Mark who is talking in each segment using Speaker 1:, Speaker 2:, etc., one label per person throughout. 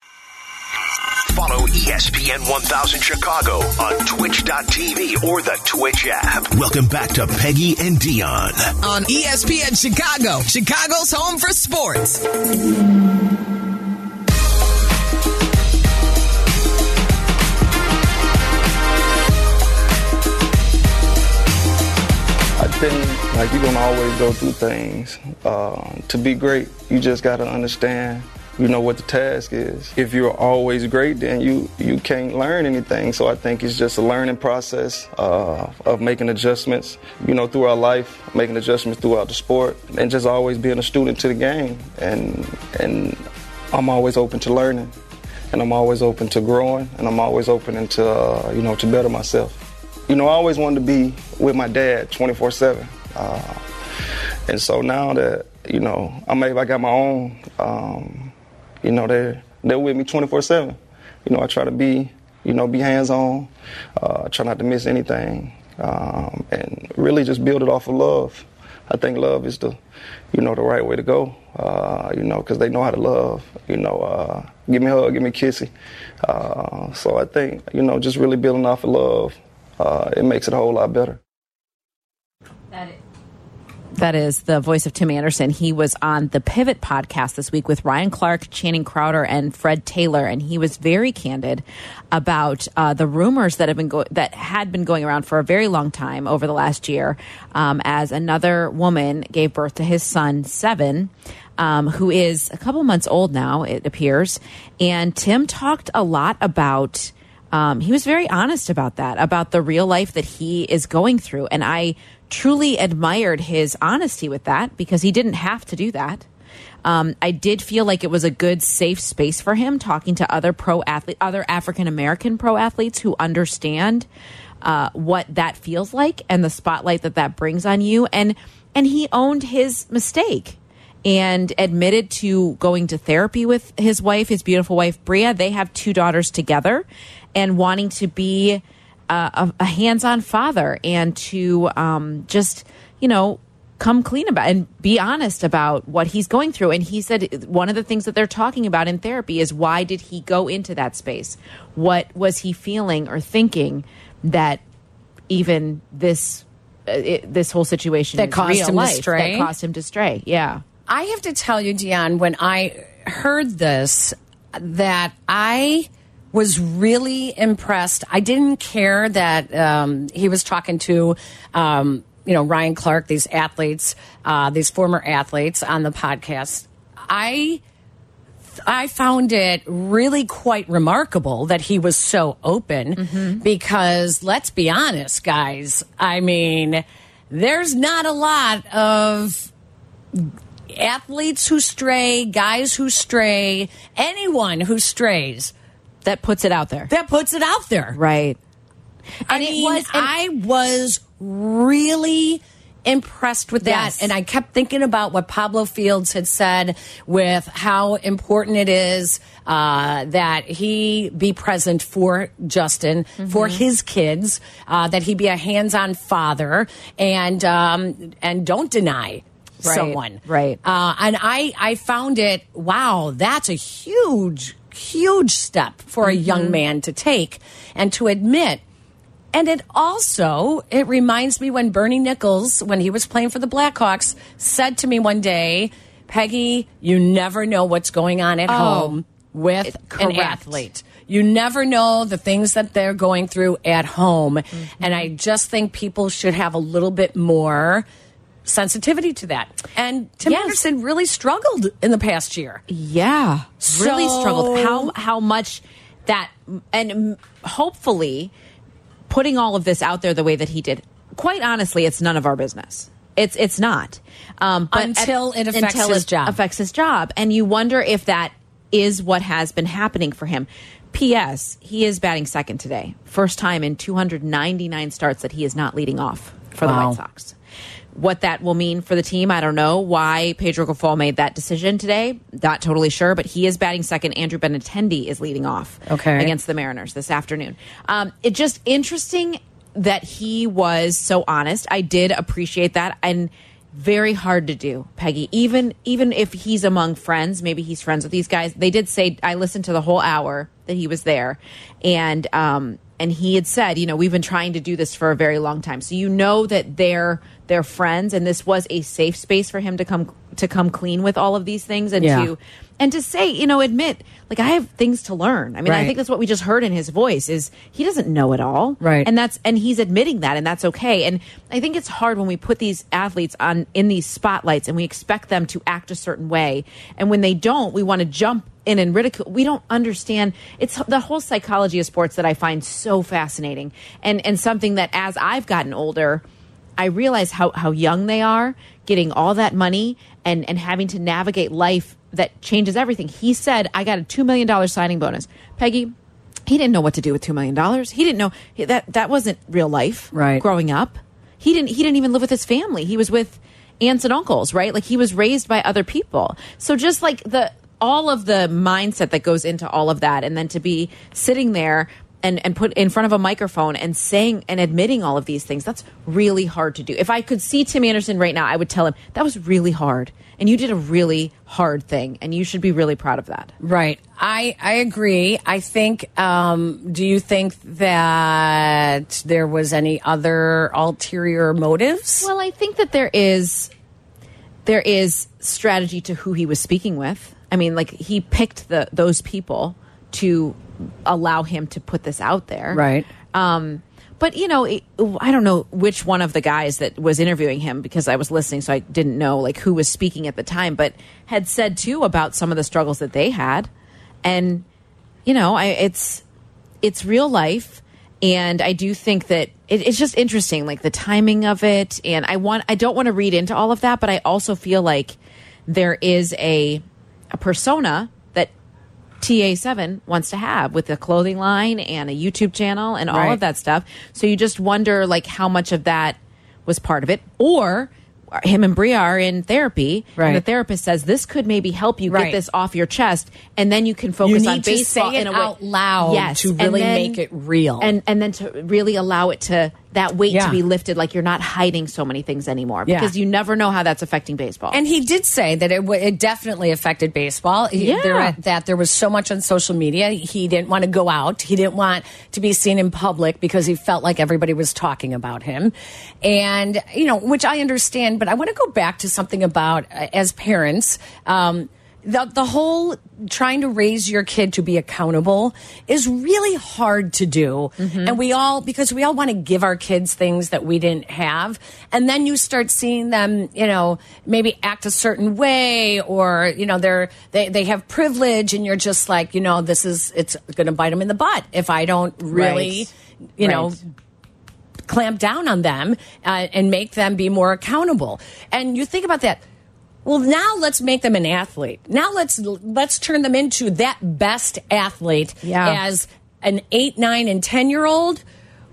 Speaker 1: E ESPN 1000 Chicago on twitch.tv or the Twitch app. Welcome back to Peggy and Dion.
Speaker 2: on E ESPN Chicago, Chicago's home for sports.
Speaker 3: I think like you're gonna always go through things. Uh, to be great, you just gotta understand. You know what the task is. If you're always great, then you you can't learn anything. So I think it's just a learning process uh, of making adjustments. You know, through our life, making adjustments throughout the sport, and just always being a student to the game. And and I'm always open to learning, and I'm always open to growing, and I'm always open into uh, you know to better myself you know, I always wanted to be with my dad 24 7. Uh, and so now that, you know, I'm able, I got my own, um, you know, they're, they're with me 24 7. You know, I try to be, you know, be hands on, uh, try not to miss anything, um, and really just build it off of love. I think love is the, you know, the right way to go. Uh, you know, because they know how to love. You know, uh, give me a hug, give me a kissy. Uh, so I think, you know, just really building off of love uh, it makes it a whole lot better.
Speaker 4: That is the voice of Tim Anderson. He was on the Pivot podcast this week with Ryan Clark, Channing Crowder, and Fred Taylor, and he was very candid about uh, the rumors that have been go- that had been going around for a very long time over the last year, um, as another woman gave birth to his son Seven, um, who is a couple months old now, it appears. And Tim talked a lot about um, he was very honest about that, about the real life that he is going through. And I truly admired his honesty with that because he didn't have to do that. Um, I did feel like it was a good, safe space for him talking to other pro athlete, other African American pro athletes who understand uh, what that feels like and the spotlight that that brings on you. And and he owned his mistake and admitted to going to therapy with his wife, his beautiful wife, Bria. They have two daughters together and wanting to be uh, a, a hands on father and to um, just, you know, come clean about and be honest about what he's going through. And he said one of the things that they're talking about in therapy is why did he go into that space? What was he feeling or thinking that even this? uh, It, this whole situation
Speaker 5: That
Speaker 4: is
Speaker 5: caused
Speaker 4: real
Speaker 5: him to
Speaker 4: life,
Speaker 5: stray?
Speaker 4: That caused him to stray. Yeah.
Speaker 5: I have to tell you, Dion, when I heard this, that I was really impressed. I didn't care that um, he was talking to, um, you know, Ryan Clark, these athletes, uh, these former athletes on the podcast. I. I found it really quite remarkable that he was so open because let's be honest, guys. I mean, there's not a lot of athletes who stray, guys who stray, anyone who strays
Speaker 4: that puts it out there.
Speaker 5: that puts it out there.
Speaker 4: Right.
Speaker 5: I
Speaker 4: And it
Speaker 5: mean,
Speaker 4: was- and-
Speaker 5: I was really impressed with that
Speaker 4: Yes.
Speaker 5: and I kept thinking about what Pablo Fields had said with how important it is uh, that he be present for Justin for
Speaker 4: Mm-hmm.
Speaker 5: his kids uh, that he be a hands-on father and um, and don't deny
Speaker 4: Right,
Speaker 5: someone
Speaker 4: right.
Speaker 5: uh, and I I found it wow that's a huge huge step for a
Speaker 4: Mm-hmm.
Speaker 5: young man to take and to admit and it also it reminds me when Bernie Nichols when he was playing for the Blackhawks said to me one day Peggy you never know what's going on at home with an
Speaker 4: Oh, correct.
Speaker 5: athlete you never know the things that they're going through at home
Speaker 4: Mm-hmm.
Speaker 5: and I just think people should have a little bit more sensitivity to that and Tim
Speaker 4: Yes.
Speaker 5: Anderson really struggled in the past year
Speaker 4: Yeah. really
Speaker 5: So-
Speaker 4: struggled. How how much that and mm, hopefully putting all of this out there the way that he did. Quite honestly, it's none of our business. It's it's not. Um, but at-
Speaker 5: Until it affects his job.
Speaker 4: affects his job, and you wonder if that is what has been happening for him. P.S. He is batting second today, first time in 299 starts that he is not leading off for the
Speaker 5: Wow.
Speaker 4: White Sox. What that will mean for the team, I don't know. Why Pedro Gafal made that decision today, not totally sure, but he is batting second. Andrew Benatendi is leading off
Speaker 5: Okay.
Speaker 4: against the Mariners this afternoon. Um, it just interesting that he was so honest. I did appreciate that. And very hard to do, Peggy. Even even if he's among friends, maybe he's friends with these guys. They did say I listened to the whole hour that he was there, and um and he had said, you know, we've been trying to do this for a very long time. So you know that they're they're friends, and this was a safe space for him to come to come clean with all of these things and
Speaker 5: Yeah.
Speaker 4: to and to say, you know, admit like I have things to learn. I mean, I
Speaker 5: Right.
Speaker 4: think that's what we just heard in his voice is he doesn't know it all,
Speaker 5: Right.
Speaker 4: And that's and he's admitting that, and that's okay. And I think it's hard when we put these athletes on in these spotlights and we expect them to act a certain way, and when they don't, we want to jump in and ridicule. We don't understand. It's the whole psychology of sports that I find so fascinating, and and something that as I've gotten older. I realize how, how young they are, getting all that money and, and having to navigate life that changes everything. He said, I got a $2 million signing bonus. Peggy, he didn't know what to do with $2 million. He didn't know he- that that wasn't real life
Speaker 5: Right.
Speaker 4: growing up. He didn't, he didn't even live with his family. He was with aunts and uncles, right? Like he was raised by other people. So just like the, all of the mindset that goes into all of that. And then to be sitting there and, and put in front of a microphone and saying and admitting all of these things that's really hard to do if i could see tim anderson right now i would tell him that was really hard and you did a really hard thing and you should be really proud of that
Speaker 5: Right. I, I agree. I think, um, do you think that there was any other ulterior motives?
Speaker 4: well i think that there is there is strategy to who he was speaking with i mean like he picked the those people to allow him to put this out there
Speaker 5: Right.
Speaker 4: Um, but you know, it, I don't know which one of the guys that was interviewing him because I was listening, so I didn't know like who was speaking at the time, but had said too about some of the struggles that they had, and you know, I, it's it's real life, and I do think that it, it's just interesting, like the timing of it, and I want I don't want to read into all of that, but I also feel like there is a a persona that TA7 wants to have with a clothing line and a YouTube channel and all
Speaker 5: Right.
Speaker 4: of that stuff. So you just wonder like how much of that was part of it or him and Bria are in therapy
Speaker 5: Right.
Speaker 4: and the therapist says this could maybe help you
Speaker 5: Right.
Speaker 4: get this off your chest and then you can focus
Speaker 5: You
Speaker 4: on
Speaker 5: need to
Speaker 4: baseball
Speaker 5: say it
Speaker 4: in a way
Speaker 5: out loud to
Speaker 4: and
Speaker 5: really make it real.
Speaker 4: and and then to really allow it to that weight
Speaker 5: Yeah.
Speaker 4: to be lifted like you're not hiding so many things anymore
Speaker 5: Yeah.
Speaker 4: because you never know how that's affecting baseball
Speaker 5: And he did say that it, w- it definitely affected baseball. He-
Speaker 4: Yeah.
Speaker 5: there- that there was so much on social media. He didn't want to go out. He didn't want to be seen in public because he felt like everybody was talking about him. And, you know, which I understand, but I want to go back to something about uh, as parents. Um, the, the whole trying to raise your kid to be accountable is really hard to do.
Speaker 4: Mm-hmm.
Speaker 5: And we all, because we all want to give our kids things that we didn't have. And then you start seeing them, you know, maybe act a certain way or, you know, they're, they, they have privilege and you're just like, you know, this is, it's going to bite them in the butt if I don't really,
Speaker 4: Right.
Speaker 5: you know,
Speaker 4: Right.
Speaker 5: clamp down on them uh, and make them be more accountable. And you think about that. Well, now let's make them an athlete. Now let's let's turn them into that best athlete
Speaker 4: Yeah.
Speaker 5: as an 8, 9 and 10 year old.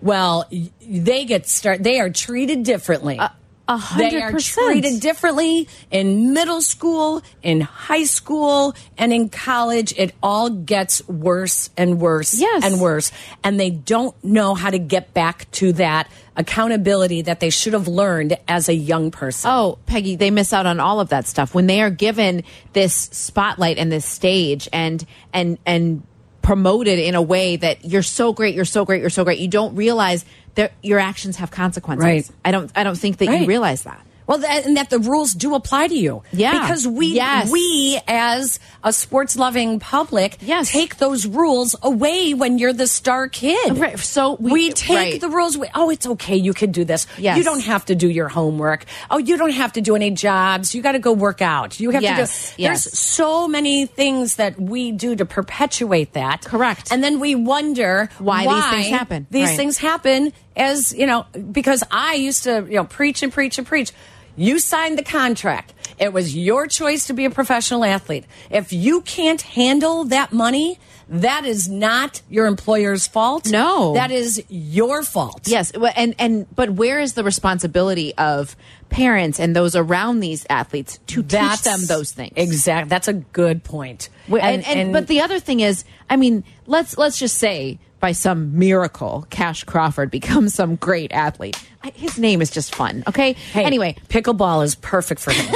Speaker 5: Well, y- they get start they are treated differently.
Speaker 4: a hundred
Speaker 5: They are
Speaker 4: percent.
Speaker 5: treated differently in middle school, in high school, and in college. It all gets worse and worse
Speaker 4: Yes.
Speaker 5: and worse. And they don't know how to get back to that accountability that they should have learned as a young person.
Speaker 4: Oh, Peggy, they miss out on all of that stuff when they are given this spotlight and this stage and and and promoted in a way that you're so great, you're so great, you're so great. You don't realize that your actions have consequences.
Speaker 5: Right.
Speaker 4: I don't I don't think that you
Speaker 5: Right.
Speaker 4: realize that.
Speaker 5: Well, that, and that the rules do apply to you.
Speaker 4: Yeah.
Speaker 5: Because we,
Speaker 4: Yes.
Speaker 5: we as a sports loving public,
Speaker 4: Yes.
Speaker 5: take those rules away when you're the star kid.
Speaker 4: Right. So
Speaker 5: we,
Speaker 4: we-
Speaker 5: take
Speaker 4: right.
Speaker 5: the rules away. Oh, it's okay. You can do this.
Speaker 4: Yes.
Speaker 5: You don't have to do your homework. Oh, you don't have to do any jobs. You got to go work out. You have
Speaker 4: Yes.
Speaker 5: to do. There's
Speaker 4: Yes.
Speaker 5: so many things that we do to perpetuate that.
Speaker 4: Correct.
Speaker 5: And then we wonder
Speaker 4: Why these things happen.
Speaker 5: These
Speaker 4: Right.
Speaker 5: things things happen as you know because i used to you know preach and preach and preach you signed the contract it was your choice to be a professional athlete if you can't handle that money that is not your employer's fault
Speaker 4: No.
Speaker 5: that is your fault
Speaker 4: Yes, well, and and but where is the responsibility of parents and those around these athletes to teach them those things?
Speaker 5: exactly that's a good point
Speaker 4: Wh- And, and, but the other thing is, I mean, let's let's just say by some miracle, Cash Crawford becomes some great athlete. I, his name is just fun. Okay.
Speaker 5: Hey,
Speaker 4: Anyway,
Speaker 5: pickleball is perfect for him.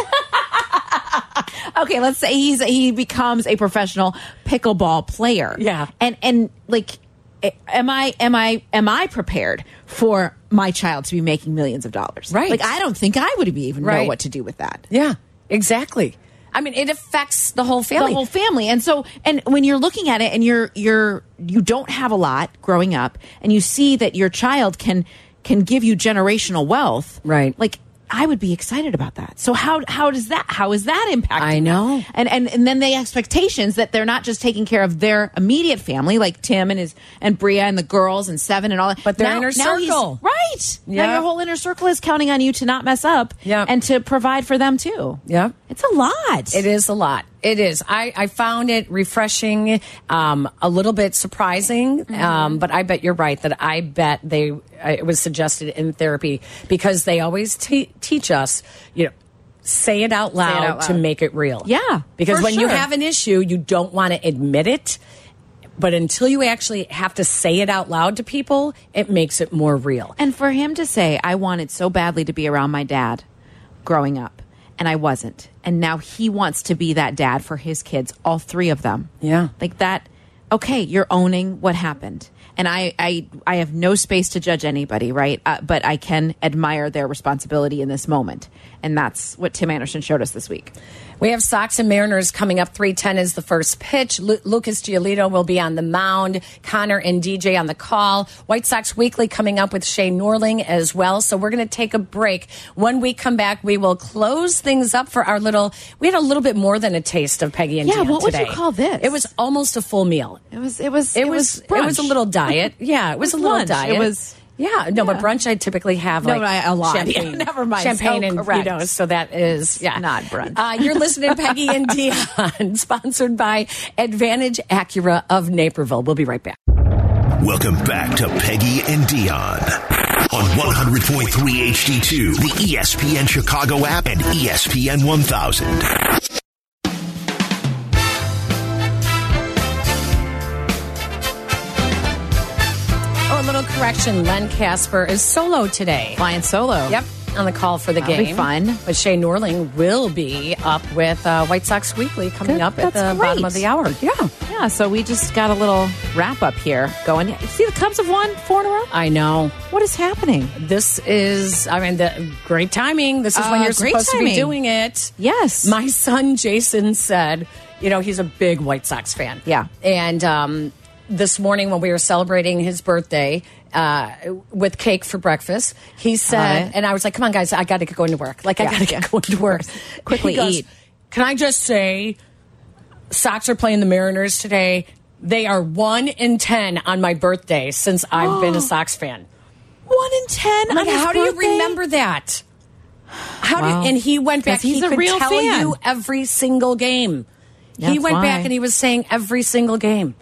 Speaker 4: okay, let's say he's he becomes a professional pickleball player.
Speaker 5: Yeah.
Speaker 4: And and like a- am I am I am I prepared for my child to be making millions of dollars?
Speaker 5: Right.
Speaker 4: Like I don't think I would be even know
Speaker 5: Right.
Speaker 4: what to do with that.
Speaker 5: yeah, exactly. I mean, it affects the whole family.
Speaker 4: The whole family. And so and when you're looking at it and you're you're you don't have a lot growing up and you see that your child can can give you generational wealth.
Speaker 5: Right.
Speaker 4: Like I would be excited about that. So how how does that how is that impacting?
Speaker 5: I know.
Speaker 4: And and and then the expectations that they're not just taking care of their immediate family like Tim and his and Bria and the girls and Seven and all that.
Speaker 5: But their
Speaker 4: now,
Speaker 5: inner
Speaker 4: now he's-
Speaker 5: circle.
Speaker 4: right? Now
Speaker 5: Yeah.
Speaker 4: your whole inner circle is counting on you to not mess up.
Speaker 5: Yeah.
Speaker 4: And to provide for them too.
Speaker 5: Yeah.
Speaker 4: It's a lot.
Speaker 5: It is a lot. It is. I, I found it refreshing, um, a little bit surprising,
Speaker 4: Mm-hmm.
Speaker 5: um, but I bet you're right that I bet they I- it was suggested in therapy because they always te teach us, you know, say it out loud,
Speaker 4: out
Speaker 5: to
Speaker 4: loud.
Speaker 5: make it real.
Speaker 4: Yeah,
Speaker 5: because
Speaker 4: for
Speaker 5: when you
Speaker 4: sure.
Speaker 5: have an issue, you don't want to admit it. But until you actually have to say it out loud to people, it makes it more real.
Speaker 4: And for him to say, I wanted so badly to be around my dad growing up, and I wasn't. And now he wants to be that dad for his kids, all three of them.
Speaker 5: Yeah.
Speaker 4: Like that, okay, you're owning what happened. And I, I, I have no space to judge anybody, right? Uh, but I can admire their responsibility in this moment. And that's what Tim Anderson showed us this week.
Speaker 5: We have Sox and Mariners coming up. 310 is the first pitch. Lu Lucas Giolito will be on the mound. Connor and DJ on the call. White Sox Weekly coming up with Shay Norling as well. So we're going to take a break. When we come back, we will close things up for our little. We had a little bit more than a taste of Peggy and
Speaker 4: Yeah,
Speaker 5: Dan
Speaker 4: what would you
Speaker 5: today.
Speaker 4: call this?
Speaker 5: It was almost a full meal.
Speaker 4: It was, it was,
Speaker 5: It, was. it was a
Speaker 4: brunch.
Speaker 5: little diet. Yeah, it was,
Speaker 4: was
Speaker 5: a little
Speaker 4: lunch. It
Speaker 5: diet.
Speaker 4: was-
Speaker 5: Yeah, no, but brunch I typically have
Speaker 4: No,
Speaker 5: like
Speaker 4: but I- a lot.
Speaker 5: champagne.
Speaker 4: Yeah, never mind.
Speaker 5: Champagne
Speaker 4: So
Speaker 5: and
Speaker 4: correct.
Speaker 5: you know, so that is yeah,
Speaker 4: Not brunch.
Speaker 5: Uh, you're listening to Peggy and Dion, sponsored by Advantage Acura of Naperville. We'll be right back.
Speaker 1: Welcome back to Peggy and Dion on 100.3 HD2, the E ESPN Chicago app and E ESPN 1000.
Speaker 5: Oh, a little correction: Len Casper is solo today.
Speaker 4: flying solo.
Speaker 5: Yep, on the call for the
Speaker 4: That'll be
Speaker 5: game.
Speaker 4: fun.
Speaker 5: But Shay Norling will be up with uh, White Sox Weekly coming
Speaker 4: Good.
Speaker 5: up at
Speaker 4: That's
Speaker 5: the bottom
Speaker 4: great.
Speaker 5: of the hour. Yeah.
Speaker 4: Yeah. So we just got a little wrap up here going. See, the Cubs have won four in a row.
Speaker 5: I know.
Speaker 4: What is happening?
Speaker 5: This is, I mean, the great timing. This is when
Speaker 4: Uh,
Speaker 5: you're
Speaker 4: great
Speaker 5: supposed to
Speaker 4: timing.
Speaker 5: be doing it.
Speaker 4: Yes.
Speaker 5: My son Jason said, you know, he's a big White Sox fan.
Speaker 4: Yeah.
Speaker 5: And um, this morning when we were celebrating his birthday uh, with cake for breakfast, he said,
Speaker 4: Hi.
Speaker 5: and I was like, come on, guys, I got to get going to work. Like, I
Speaker 4: Uh-huh. Yeah,
Speaker 5: got to
Speaker 4: yeah.
Speaker 5: get going to work.
Speaker 4: Quickly
Speaker 5: He goes,
Speaker 4: eat.
Speaker 5: Can I just say, Sox are playing the Mariners today. They are one in 10 on my birthday since I've been a Sox fan.
Speaker 4: One in ten.
Speaker 5: I'm like, how do you remember that? How
Speaker 4: Wow.
Speaker 5: do and he went back.
Speaker 4: 'Cause he's
Speaker 5: he
Speaker 4: a
Speaker 5: could
Speaker 4: real
Speaker 5: tell
Speaker 4: fan.
Speaker 5: you every single game. he
Speaker 4: That's
Speaker 5: went
Speaker 4: why.
Speaker 5: back and he was saying every single game.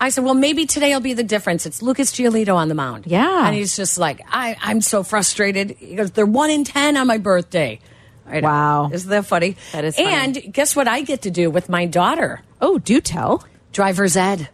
Speaker 5: I said, well, maybe today will be the difference. It's Lucas Giolito on the mound.
Speaker 4: Yeah.
Speaker 5: and he's just like, I, I'm so frustrated. He goes, they're one in ten on my birthday. I know.
Speaker 4: Wow.
Speaker 5: isn't that funny?
Speaker 4: That is funny.
Speaker 5: And guess what I get to do with my daughter,
Speaker 4: Oh, do tell.
Speaker 5: driver's ed.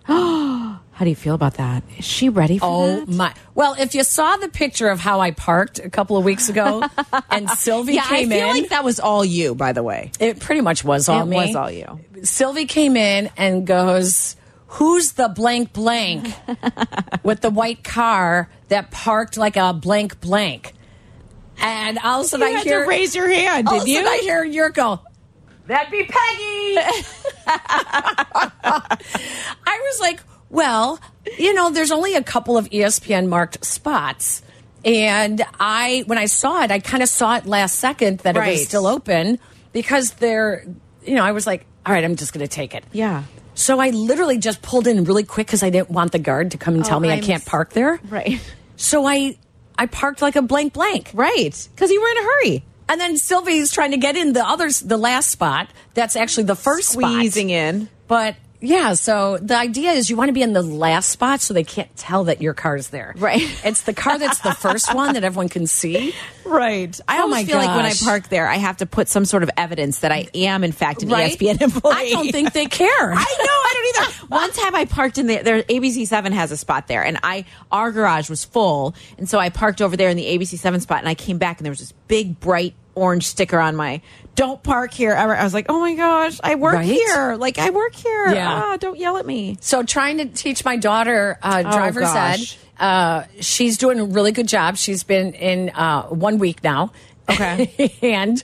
Speaker 4: How do you feel about that? Is she ready for
Speaker 5: Oh
Speaker 4: that?
Speaker 5: my! Well, if you saw the picture of how I parked a couple of weeks ago, and Sylvie
Speaker 4: Yeah, I
Speaker 5: came
Speaker 4: feel
Speaker 5: in,
Speaker 4: like that was all you, by the way.
Speaker 5: it pretty much was all
Speaker 4: it
Speaker 5: me.
Speaker 4: was all you.
Speaker 5: Sylvie came in and goes, "Who's the blank blank with the white car that parked like a blank blank?" And all of a sudden,
Speaker 4: you
Speaker 5: I
Speaker 4: had
Speaker 5: hear
Speaker 4: to raise your hand,
Speaker 5: all
Speaker 4: did
Speaker 5: of a
Speaker 4: you?
Speaker 5: sudden I hear your go. That'd be Peggy. I was like, well, you know, there's only a couple of E ESPN marked spots. And I, when I saw it, I kind of saw it last second that it
Speaker 4: Right.
Speaker 5: was still open because they're, you know, I was like, all right, I'm just going to take it.
Speaker 4: yeah.
Speaker 5: So I literally just pulled in really quick because I didn't want the guard to come and tell me I
Speaker 4: Oh, I'm
Speaker 5: can't
Speaker 4: s-
Speaker 5: park there.
Speaker 4: Right.
Speaker 5: So I, I parked like a blank blank.
Speaker 4: Right. Because you were in a hurry.
Speaker 5: And then Sylvie's trying to get in the others, the last spot. That's actually the first spot.
Speaker 4: Squeezing in.
Speaker 5: But Yeah, so the idea is you want to be in the last spot so they can't tell that your car's there.
Speaker 4: Right.
Speaker 5: It's the car that's the first one that everyone can see.
Speaker 4: Right. I
Speaker 5: Oh
Speaker 4: always
Speaker 5: my
Speaker 4: feel like when I
Speaker 5: gosh.
Speaker 4: park there, I have to put some sort of evidence that I am, in fact, an E ESPN employee.
Speaker 5: I don't think they care.
Speaker 4: I know. I don't either. One time I parked in the there ABC Seven has a spot there, and I our garage was full, and so I parked over there in the ABC Seven spot, and I came back, and there was this big bright orange sticker on my "Don't park here." ever." I was like, "Oh my gosh, I work
Speaker 5: Right?
Speaker 4: here! Like I work here!
Speaker 5: Yeah.
Speaker 4: Ah, don't yell at me."
Speaker 5: So trying to teach my daughter uh, driver's
Speaker 4: Oh, gosh.
Speaker 5: ed. Uh, she's doing a really good job. She's been in uh, one week now.
Speaker 4: Okay.
Speaker 5: and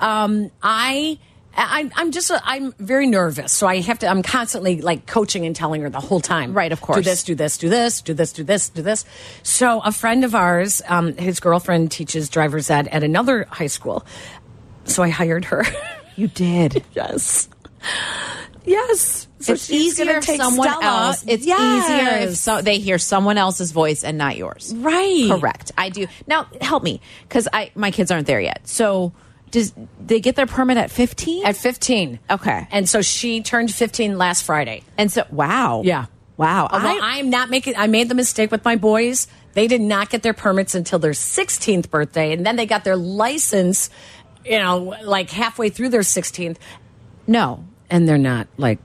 Speaker 5: um, I. I, I'm just a, I'm very nervous, so I have to. I'm constantly like coaching and telling her the whole time.
Speaker 4: Right, of course.
Speaker 5: Do this, do this, do this, do this, do this, do this. So a friend of ours, um, his girlfriend teaches driver's ed at another high school, so I hired her.
Speaker 4: You did.
Speaker 5: yes, yes. So
Speaker 4: it's
Speaker 5: she's
Speaker 4: easier
Speaker 5: gonna
Speaker 4: if
Speaker 5: take
Speaker 4: someone
Speaker 5: Stella.
Speaker 4: else. It's
Speaker 5: Yes.
Speaker 4: easier if so, they hear someone else's voice and not yours.
Speaker 5: Right.
Speaker 4: Correct. I do. Now help me because I my kids aren't there yet. So does they get their permit at fifteen?
Speaker 5: At 15.
Speaker 4: Okay.
Speaker 5: And so she turned 15 last Friday.
Speaker 4: And so, wow.
Speaker 5: Yeah.
Speaker 4: Wow.
Speaker 5: Although I, am not making, I made the mistake with my boys. They did not get their permits until their 16th birthday. And then they got their license, you know, like halfway through their 16th.
Speaker 4: no.
Speaker 5: And they're not like,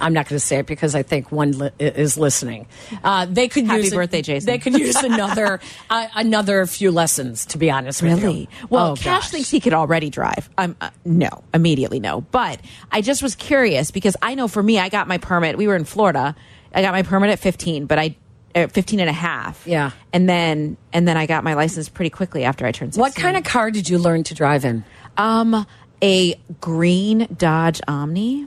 Speaker 5: I'm not going to say it because I think one li is listening. Uh, they could
Speaker 4: Happy
Speaker 5: use a-
Speaker 4: birthday, Jason.
Speaker 5: They could use another uh, another few lessons, to be honest with you.
Speaker 4: Really? Well,
Speaker 5: Oh,
Speaker 4: Cash
Speaker 5: gosh.
Speaker 4: thinks he could already drive. Um, uh, no, immediately no. But I just was curious because I know for me, I got my permit. We were in Florida. I got my permit at 15, but I, at 15 and a half.
Speaker 5: Yeah.
Speaker 4: And then, and then I got my license pretty quickly after I turned 16.
Speaker 5: What kind of car did you learn to drive in?
Speaker 4: Um, a green Dodge Omni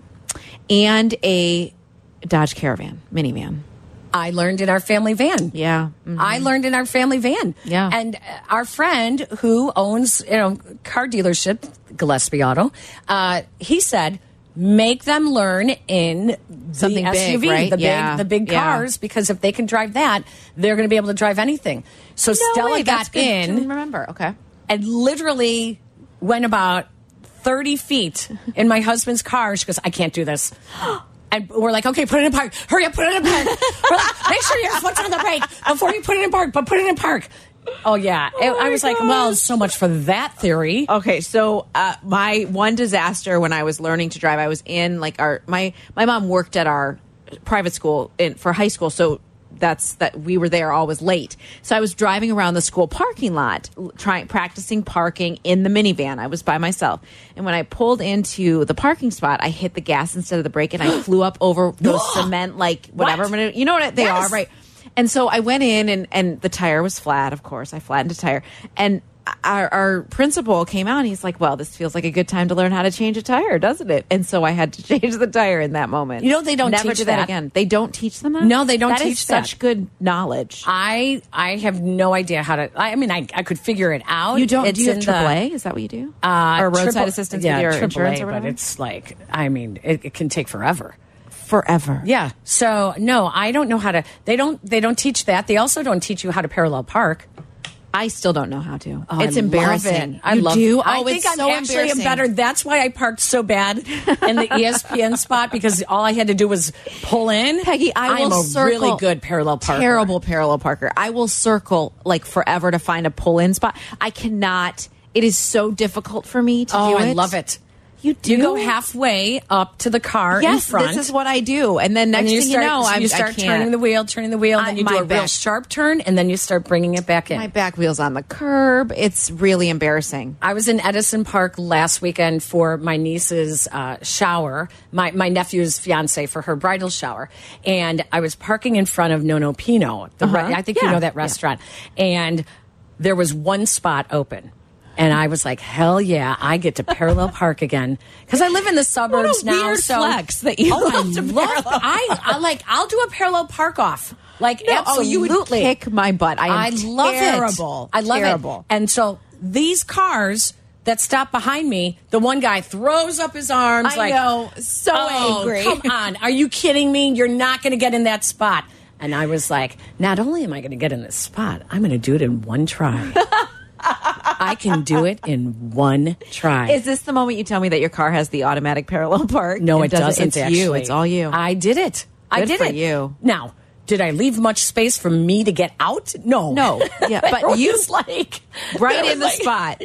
Speaker 4: and a Dodge Caravan minivan.
Speaker 5: I learned in our family van.
Speaker 4: Yeah. Mhm.
Speaker 5: I learned in our family van.
Speaker 4: Yeah.
Speaker 5: And uh, our friend who owns, you know, car dealership, Gillespie Auto, uh, he said, make them learn in
Speaker 4: Something
Speaker 5: the
Speaker 4: big,
Speaker 5: SUV,
Speaker 4: right?
Speaker 5: the
Speaker 4: Yeah.
Speaker 5: big, the big
Speaker 4: Yeah.
Speaker 5: cars, because if they can drive that, they're going to be able to drive anything. So
Speaker 4: No
Speaker 5: Stella
Speaker 4: way, that's
Speaker 5: got
Speaker 4: good to
Speaker 5: in
Speaker 4: Remember. Okay.
Speaker 5: and literally went about 30 feet in my husband's car. She goes, I can't do this. And we're like, okay, put it in park. Hurry up, put it in park. We're like, make sure your foot's on the brake before you put it in park, but put it in park. Oh, yeah. It- I
Speaker 4: my
Speaker 5: was like, well,
Speaker 4: gosh.
Speaker 5: so much for that theory.
Speaker 4: Okay, so uh, my one disaster when I was learning to drive, I was in like our my my mom worked at our private school in for high school, so that's that we were there always late. So I was driving around the school parking lot, l- trying practicing parking in the minivan. I was by myself, and when I pulled into the parking spot, I hit the gas instead of the brake, and I flew up over those cement like whatever
Speaker 5: What?
Speaker 4: you know what they
Speaker 5: Yes.
Speaker 4: are right. And so I went in, and and the tire was flat. Of course, I flattened a tire, and our, our principal came out, and he's like, "Well, this feels like a good time to learn how to change a tire, doesn't it?" And so I had to change the tire in that moment.
Speaker 5: You know, they don't
Speaker 4: never
Speaker 5: teach
Speaker 4: do that,
Speaker 5: that.
Speaker 4: again. They don't teach them that.
Speaker 5: No, they don't
Speaker 4: That is
Speaker 5: teach that. Uh,
Speaker 4: such good knowledge.
Speaker 5: I I have no idea how to. I, I mean, I, I could figure it out.
Speaker 4: you don't.
Speaker 5: It's
Speaker 4: do you have
Speaker 5: in the-
Speaker 4: AAA? is that what you do?
Speaker 5: Uh,
Speaker 4: or roadside
Speaker 5: triple-
Speaker 4: assistance
Speaker 5: yeah,
Speaker 4: with your
Speaker 5: AAA,
Speaker 4: insurance or whatever?
Speaker 5: But it's like, I mean, it, it can take forever.
Speaker 4: forever.
Speaker 5: Yeah. So no, I don't know how to. They don't. They don't teach that. They also don't teach you how to parallel park.
Speaker 4: I still don't know how to.
Speaker 5: Oh,
Speaker 4: it's
Speaker 5: I love
Speaker 4: embarrassing.
Speaker 5: it. I
Speaker 4: you
Speaker 5: love.
Speaker 4: Do?
Speaker 5: I
Speaker 4: Oh,
Speaker 5: think
Speaker 4: it's
Speaker 5: I'm
Speaker 4: so
Speaker 5: actually
Speaker 4: embarrassing.
Speaker 5: better. That's why I parked so bad in the E ESPN spot because all I had to do was pull in.
Speaker 4: Peggy, I
Speaker 5: am
Speaker 4: will
Speaker 5: a
Speaker 4: circle
Speaker 5: really good parallel parker.
Speaker 4: Terrible parallel parker. I will circle like forever to find a pull-in spot. I cannot. It is so difficult for me to
Speaker 5: Oh,
Speaker 4: do it.
Speaker 5: I love it.
Speaker 4: You do
Speaker 5: You go halfway up to the car in
Speaker 4: Yes,
Speaker 5: front.
Speaker 4: this is what I do. And then next
Speaker 5: and you
Speaker 4: thing
Speaker 5: start,
Speaker 4: you know, I'm,
Speaker 5: you
Speaker 4: I
Speaker 5: start
Speaker 4: can't.
Speaker 5: turning the wheel, turning the wheel,
Speaker 4: I-
Speaker 5: then you
Speaker 4: my
Speaker 5: do a real
Speaker 4: back-
Speaker 5: sharp turn, and then you start bringing it back in.
Speaker 4: My back wheels on the curb. It's really embarrassing.
Speaker 5: I was in Edison Park last weekend for my niece's uh, shower, my, my nephew's fiance for her bridal shower. And I was parking in front of Nono Pino. The re- I think you
Speaker 4: Uh-huh. Yeah.
Speaker 5: know that
Speaker 4: Yeah.
Speaker 5: restaurant. And there was one spot open. And I was like, hell yeah, I get to parallel park again. Because I live in the suburbs now.
Speaker 4: weird
Speaker 5: so
Speaker 4: flex that you
Speaker 5: oh, I
Speaker 4: love to
Speaker 5: love-
Speaker 4: parallel
Speaker 5: I, I like, I'll do a parallel park off. Like, absolutely.
Speaker 4: Oh, you would kick my butt. I, am
Speaker 5: I love
Speaker 4: terrible.
Speaker 5: it. I love
Speaker 4: terrible.
Speaker 5: it. And so these cars that stop behind me, the one guy throws up his arms
Speaker 4: I
Speaker 5: like,
Speaker 4: know. So
Speaker 5: "Oh,
Speaker 4: angry."
Speaker 5: Come on, are you kidding me? You're not going to get in that spot." And I was like, "Not only am I going to get in this spot, I'm going to do it in one try." I can do it in one try.
Speaker 4: Is this the moment you tell me that your car has the automatic parallel park?
Speaker 5: no, it, doesn't.
Speaker 4: It's
Speaker 5: actually.
Speaker 4: you. It's all you.
Speaker 5: I did it. I
Speaker 4: Good
Speaker 5: did
Speaker 4: for
Speaker 5: it.
Speaker 4: you.
Speaker 5: Now, did I leave much space for me to get out? No.
Speaker 4: No. Yeah,
Speaker 5: It
Speaker 4: but you-
Speaker 5: was like
Speaker 4: right
Speaker 5: it was
Speaker 4: in the
Speaker 5: like-
Speaker 4: spot.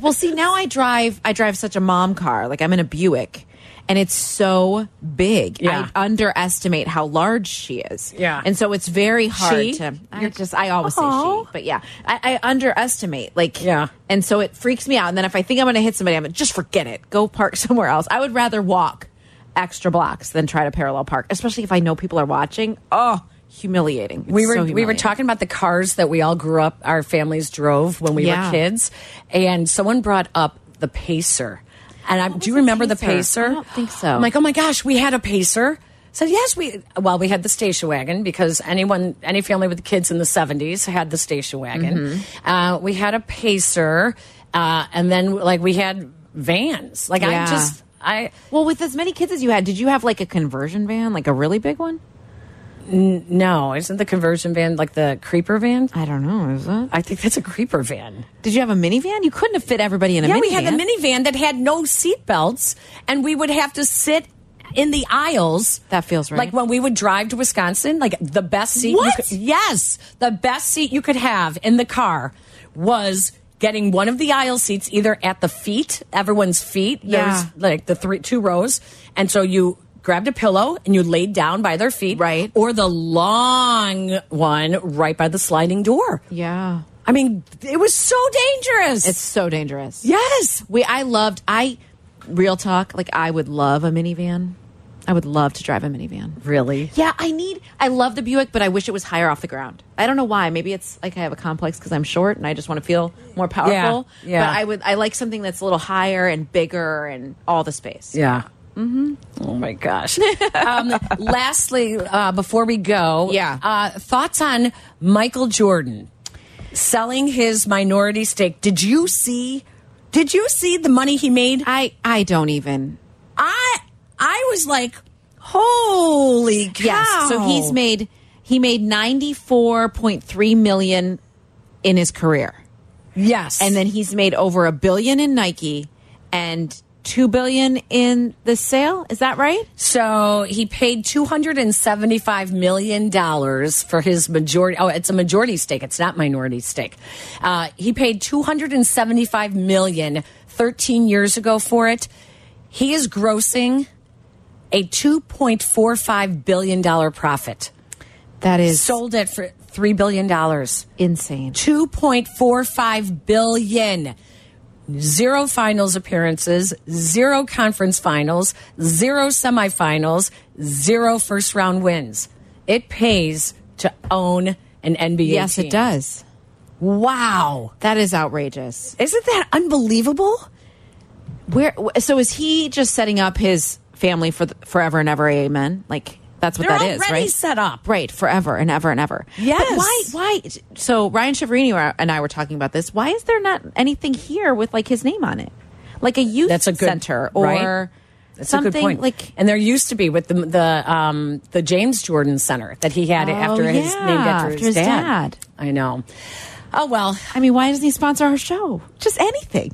Speaker 4: Well, see, now I drive. I drive such a mom car. Like I'm in a Buick, and it's so big.
Speaker 5: Yeah.
Speaker 4: I underestimate how large she is.
Speaker 5: Yeah.
Speaker 4: and so it's very hard
Speaker 5: She?
Speaker 4: to. I just I always say
Speaker 5: Aw.
Speaker 4: she, but yeah, I, I underestimate. Like
Speaker 5: Yeah.
Speaker 4: and so it freaks me out. And then if I think I'm going to hit somebody, I'm like, just forget it. Go park somewhere else. I would rather walk extra blocks than try to parallel park, especially if I know people are watching. Oh, humiliating. It's
Speaker 5: we were
Speaker 4: so
Speaker 5: we were
Speaker 4: humiliating.
Speaker 5: talking about the cars that we all grew up our families drove when we
Speaker 4: Yeah.
Speaker 5: were kids and someone brought up the pacer and I, do you
Speaker 4: was a
Speaker 5: remember the
Speaker 4: Pacer?
Speaker 5: pacer
Speaker 4: I don't think so.
Speaker 5: I'm like oh my gosh we had a pacer said yes we well we had the station wagon because anyone any family with kids in the 70s had the station wagon
Speaker 4: Mm-hmm.
Speaker 5: uh, we had a pacer uh, and then like we had vans like
Speaker 4: Yeah.
Speaker 5: i just i
Speaker 4: Well, with as many kids as you had, did you have like a conversion van, like a really big one?
Speaker 5: no isn't the conversion van like the creeper van
Speaker 4: I don't know. Is that?
Speaker 5: i think that's a creeper van
Speaker 4: Did you have a minivan? You couldn't have fit everybody in a
Speaker 5: yeah,
Speaker 4: minivan.
Speaker 5: we had the minivan that had no seat belts, and we would have to sit in the aisles.
Speaker 4: That feels right.
Speaker 5: Like when we would drive to Wisconsin, like the best seat. you
Speaker 4: What?
Speaker 5: could- yes, the best seat you could have in the car was getting one of the aisle seats, either at the feet, everyone's feet.
Speaker 4: Yeah.
Speaker 5: There's like the three two rows, and so you. Grabbed a pillow and you laid down by their feet,
Speaker 4: Right.
Speaker 5: Or the long one right by the sliding door.
Speaker 4: Yeah,
Speaker 5: I mean, it was so dangerous.
Speaker 4: it's so dangerous.
Speaker 5: yes,
Speaker 4: we. I loved. I real talk. Like I would love a minivan. I would love to drive a minivan.
Speaker 5: really.
Speaker 4: Yeah, I need. I love the Buick, but I wish it was higher off the ground. I don't know why. Maybe it's like I have a complex because I'm short and I just want to feel more powerful.
Speaker 5: yeah.
Speaker 4: But I would. I like something that's a little higher and bigger and all the space.
Speaker 5: Yeah. Mm-hmm. Oh my gosh. um, lastly, uh, before we go,
Speaker 4: Yeah.
Speaker 5: uh, thoughts on Michael Jordan selling his minority stake? Did you see? Did you see the money he made?
Speaker 4: I. I don't even.
Speaker 5: I I was like, holy cow!
Speaker 4: Yes. So he's made he made ninety four point three million in his career,
Speaker 5: yes,
Speaker 4: and then he's made over a billion in Nike and two billion in the sale. Is that right?
Speaker 5: So he paid two hundred and seventy-five million dollars for his majority. Oh, it's a majority stake. It's not minority stake. Uh, he paid two hundred and seventy-five million thirteen years ago for it. He is grossing a two point four five billion dollar profit.
Speaker 4: That is
Speaker 5: Sold it for three billion dollars.
Speaker 4: insane.
Speaker 5: Two point four five billion. Zero finals appearances, zero conference finals, zero semifinals, zero first round wins. It pays to own an NBA.
Speaker 4: Yes,
Speaker 5: team.
Speaker 4: it does.
Speaker 5: Wow.
Speaker 4: That is outrageous.
Speaker 5: Isn't that unbelievable?
Speaker 4: Where wh- so is he just setting up his family for the, forever and ever? Amen. Like that's what
Speaker 5: They're
Speaker 4: that is,
Speaker 5: already
Speaker 4: right?
Speaker 5: set up.
Speaker 4: right? Forever and ever and ever.
Speaker 5: Yes.
Speaker 4: But why? Why? So Ryan Shiverini and I were talking about this. Why is there not anything here with like his name on it, like a youth
Speaker 5: That's a good
Speaker 4: center or
Speaker 5: right? That's
Speaker 4: something
Speaker 5: a good point.
Speaker 4: like?
Speaker 5: and there used to be with the the um, the James Jordan Center that he had
Speaker 4: Oh,
Speaker 5: after his
Speaker 4: yeah,
Speaker 5: named after,
Speaker 4: after his dad.
Speaker 5: I know. Oh well,
Speaker 4: I mean, why doesn't he sponsor our show? Just anything.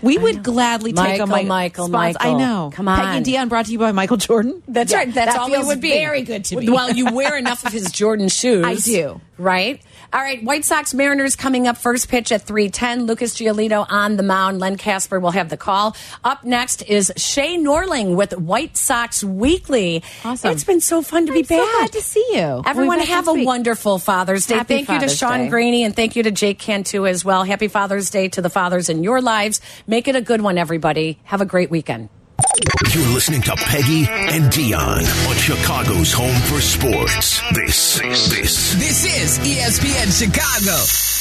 Speaker 4: We would gladly take a
Speaker 5: Michael,
Speaker 4: Mi-
Speaker 5: Michael,
Speaker 4: sponsor- I
Speaker 5: Michael.
Speaker 4: know.
Speaker 5: Come
Speaker 4: Peggy and
Speaker 5: on.
Speaker 4: Dion brought to you by Michael Jordan.
Speaker 5: That's
Speaker 4: Yeah,
Speaker 5: right. That's
Speaker 4: that
Speaker 5: all
Speaker 4: feels
Speaker 5: it would be.
Speaker 4: Very good to me.
Speaker 5: Well, you wear enough of his Jordan shoes.
Speaker 4: I do.
Speaker 5: Right? All right. White Sox Mariners coming up first pitch at 310. Lucas Giolito on the mound. Len Casper will have the call. Up next is Shay Norling with White Sox Weekly.
Speaker 4: Awesome.
Speaker 5: It's been so fun to be
Speaker 4: I'm so
Speaker 5: back.
Speaker 4: glad to see you. We'll be
Speaker 5: Everyone
Speaker 4: back
Speaker 5: have
Speaker 4: next
Speaker 5: a
Speaker 4: week.
Speaker 5: wonderful Father's Day.
Speaker 4: Happy
Speaker 5: thank you to
Speaker 4: Father's
Speaker 5: Sean
Speaker 4: Day.
Speaker 5: Graney and thank you to Jake Cantu as well. Happy Father's Day to the fathers in your lives. Make it a good one, everybody. Have a great weekend.
Speaker 1: You're listening to Peggy and Dion on Chicago's Home for Sports. This, this
Speaker 2: E This is ESPN Chicago.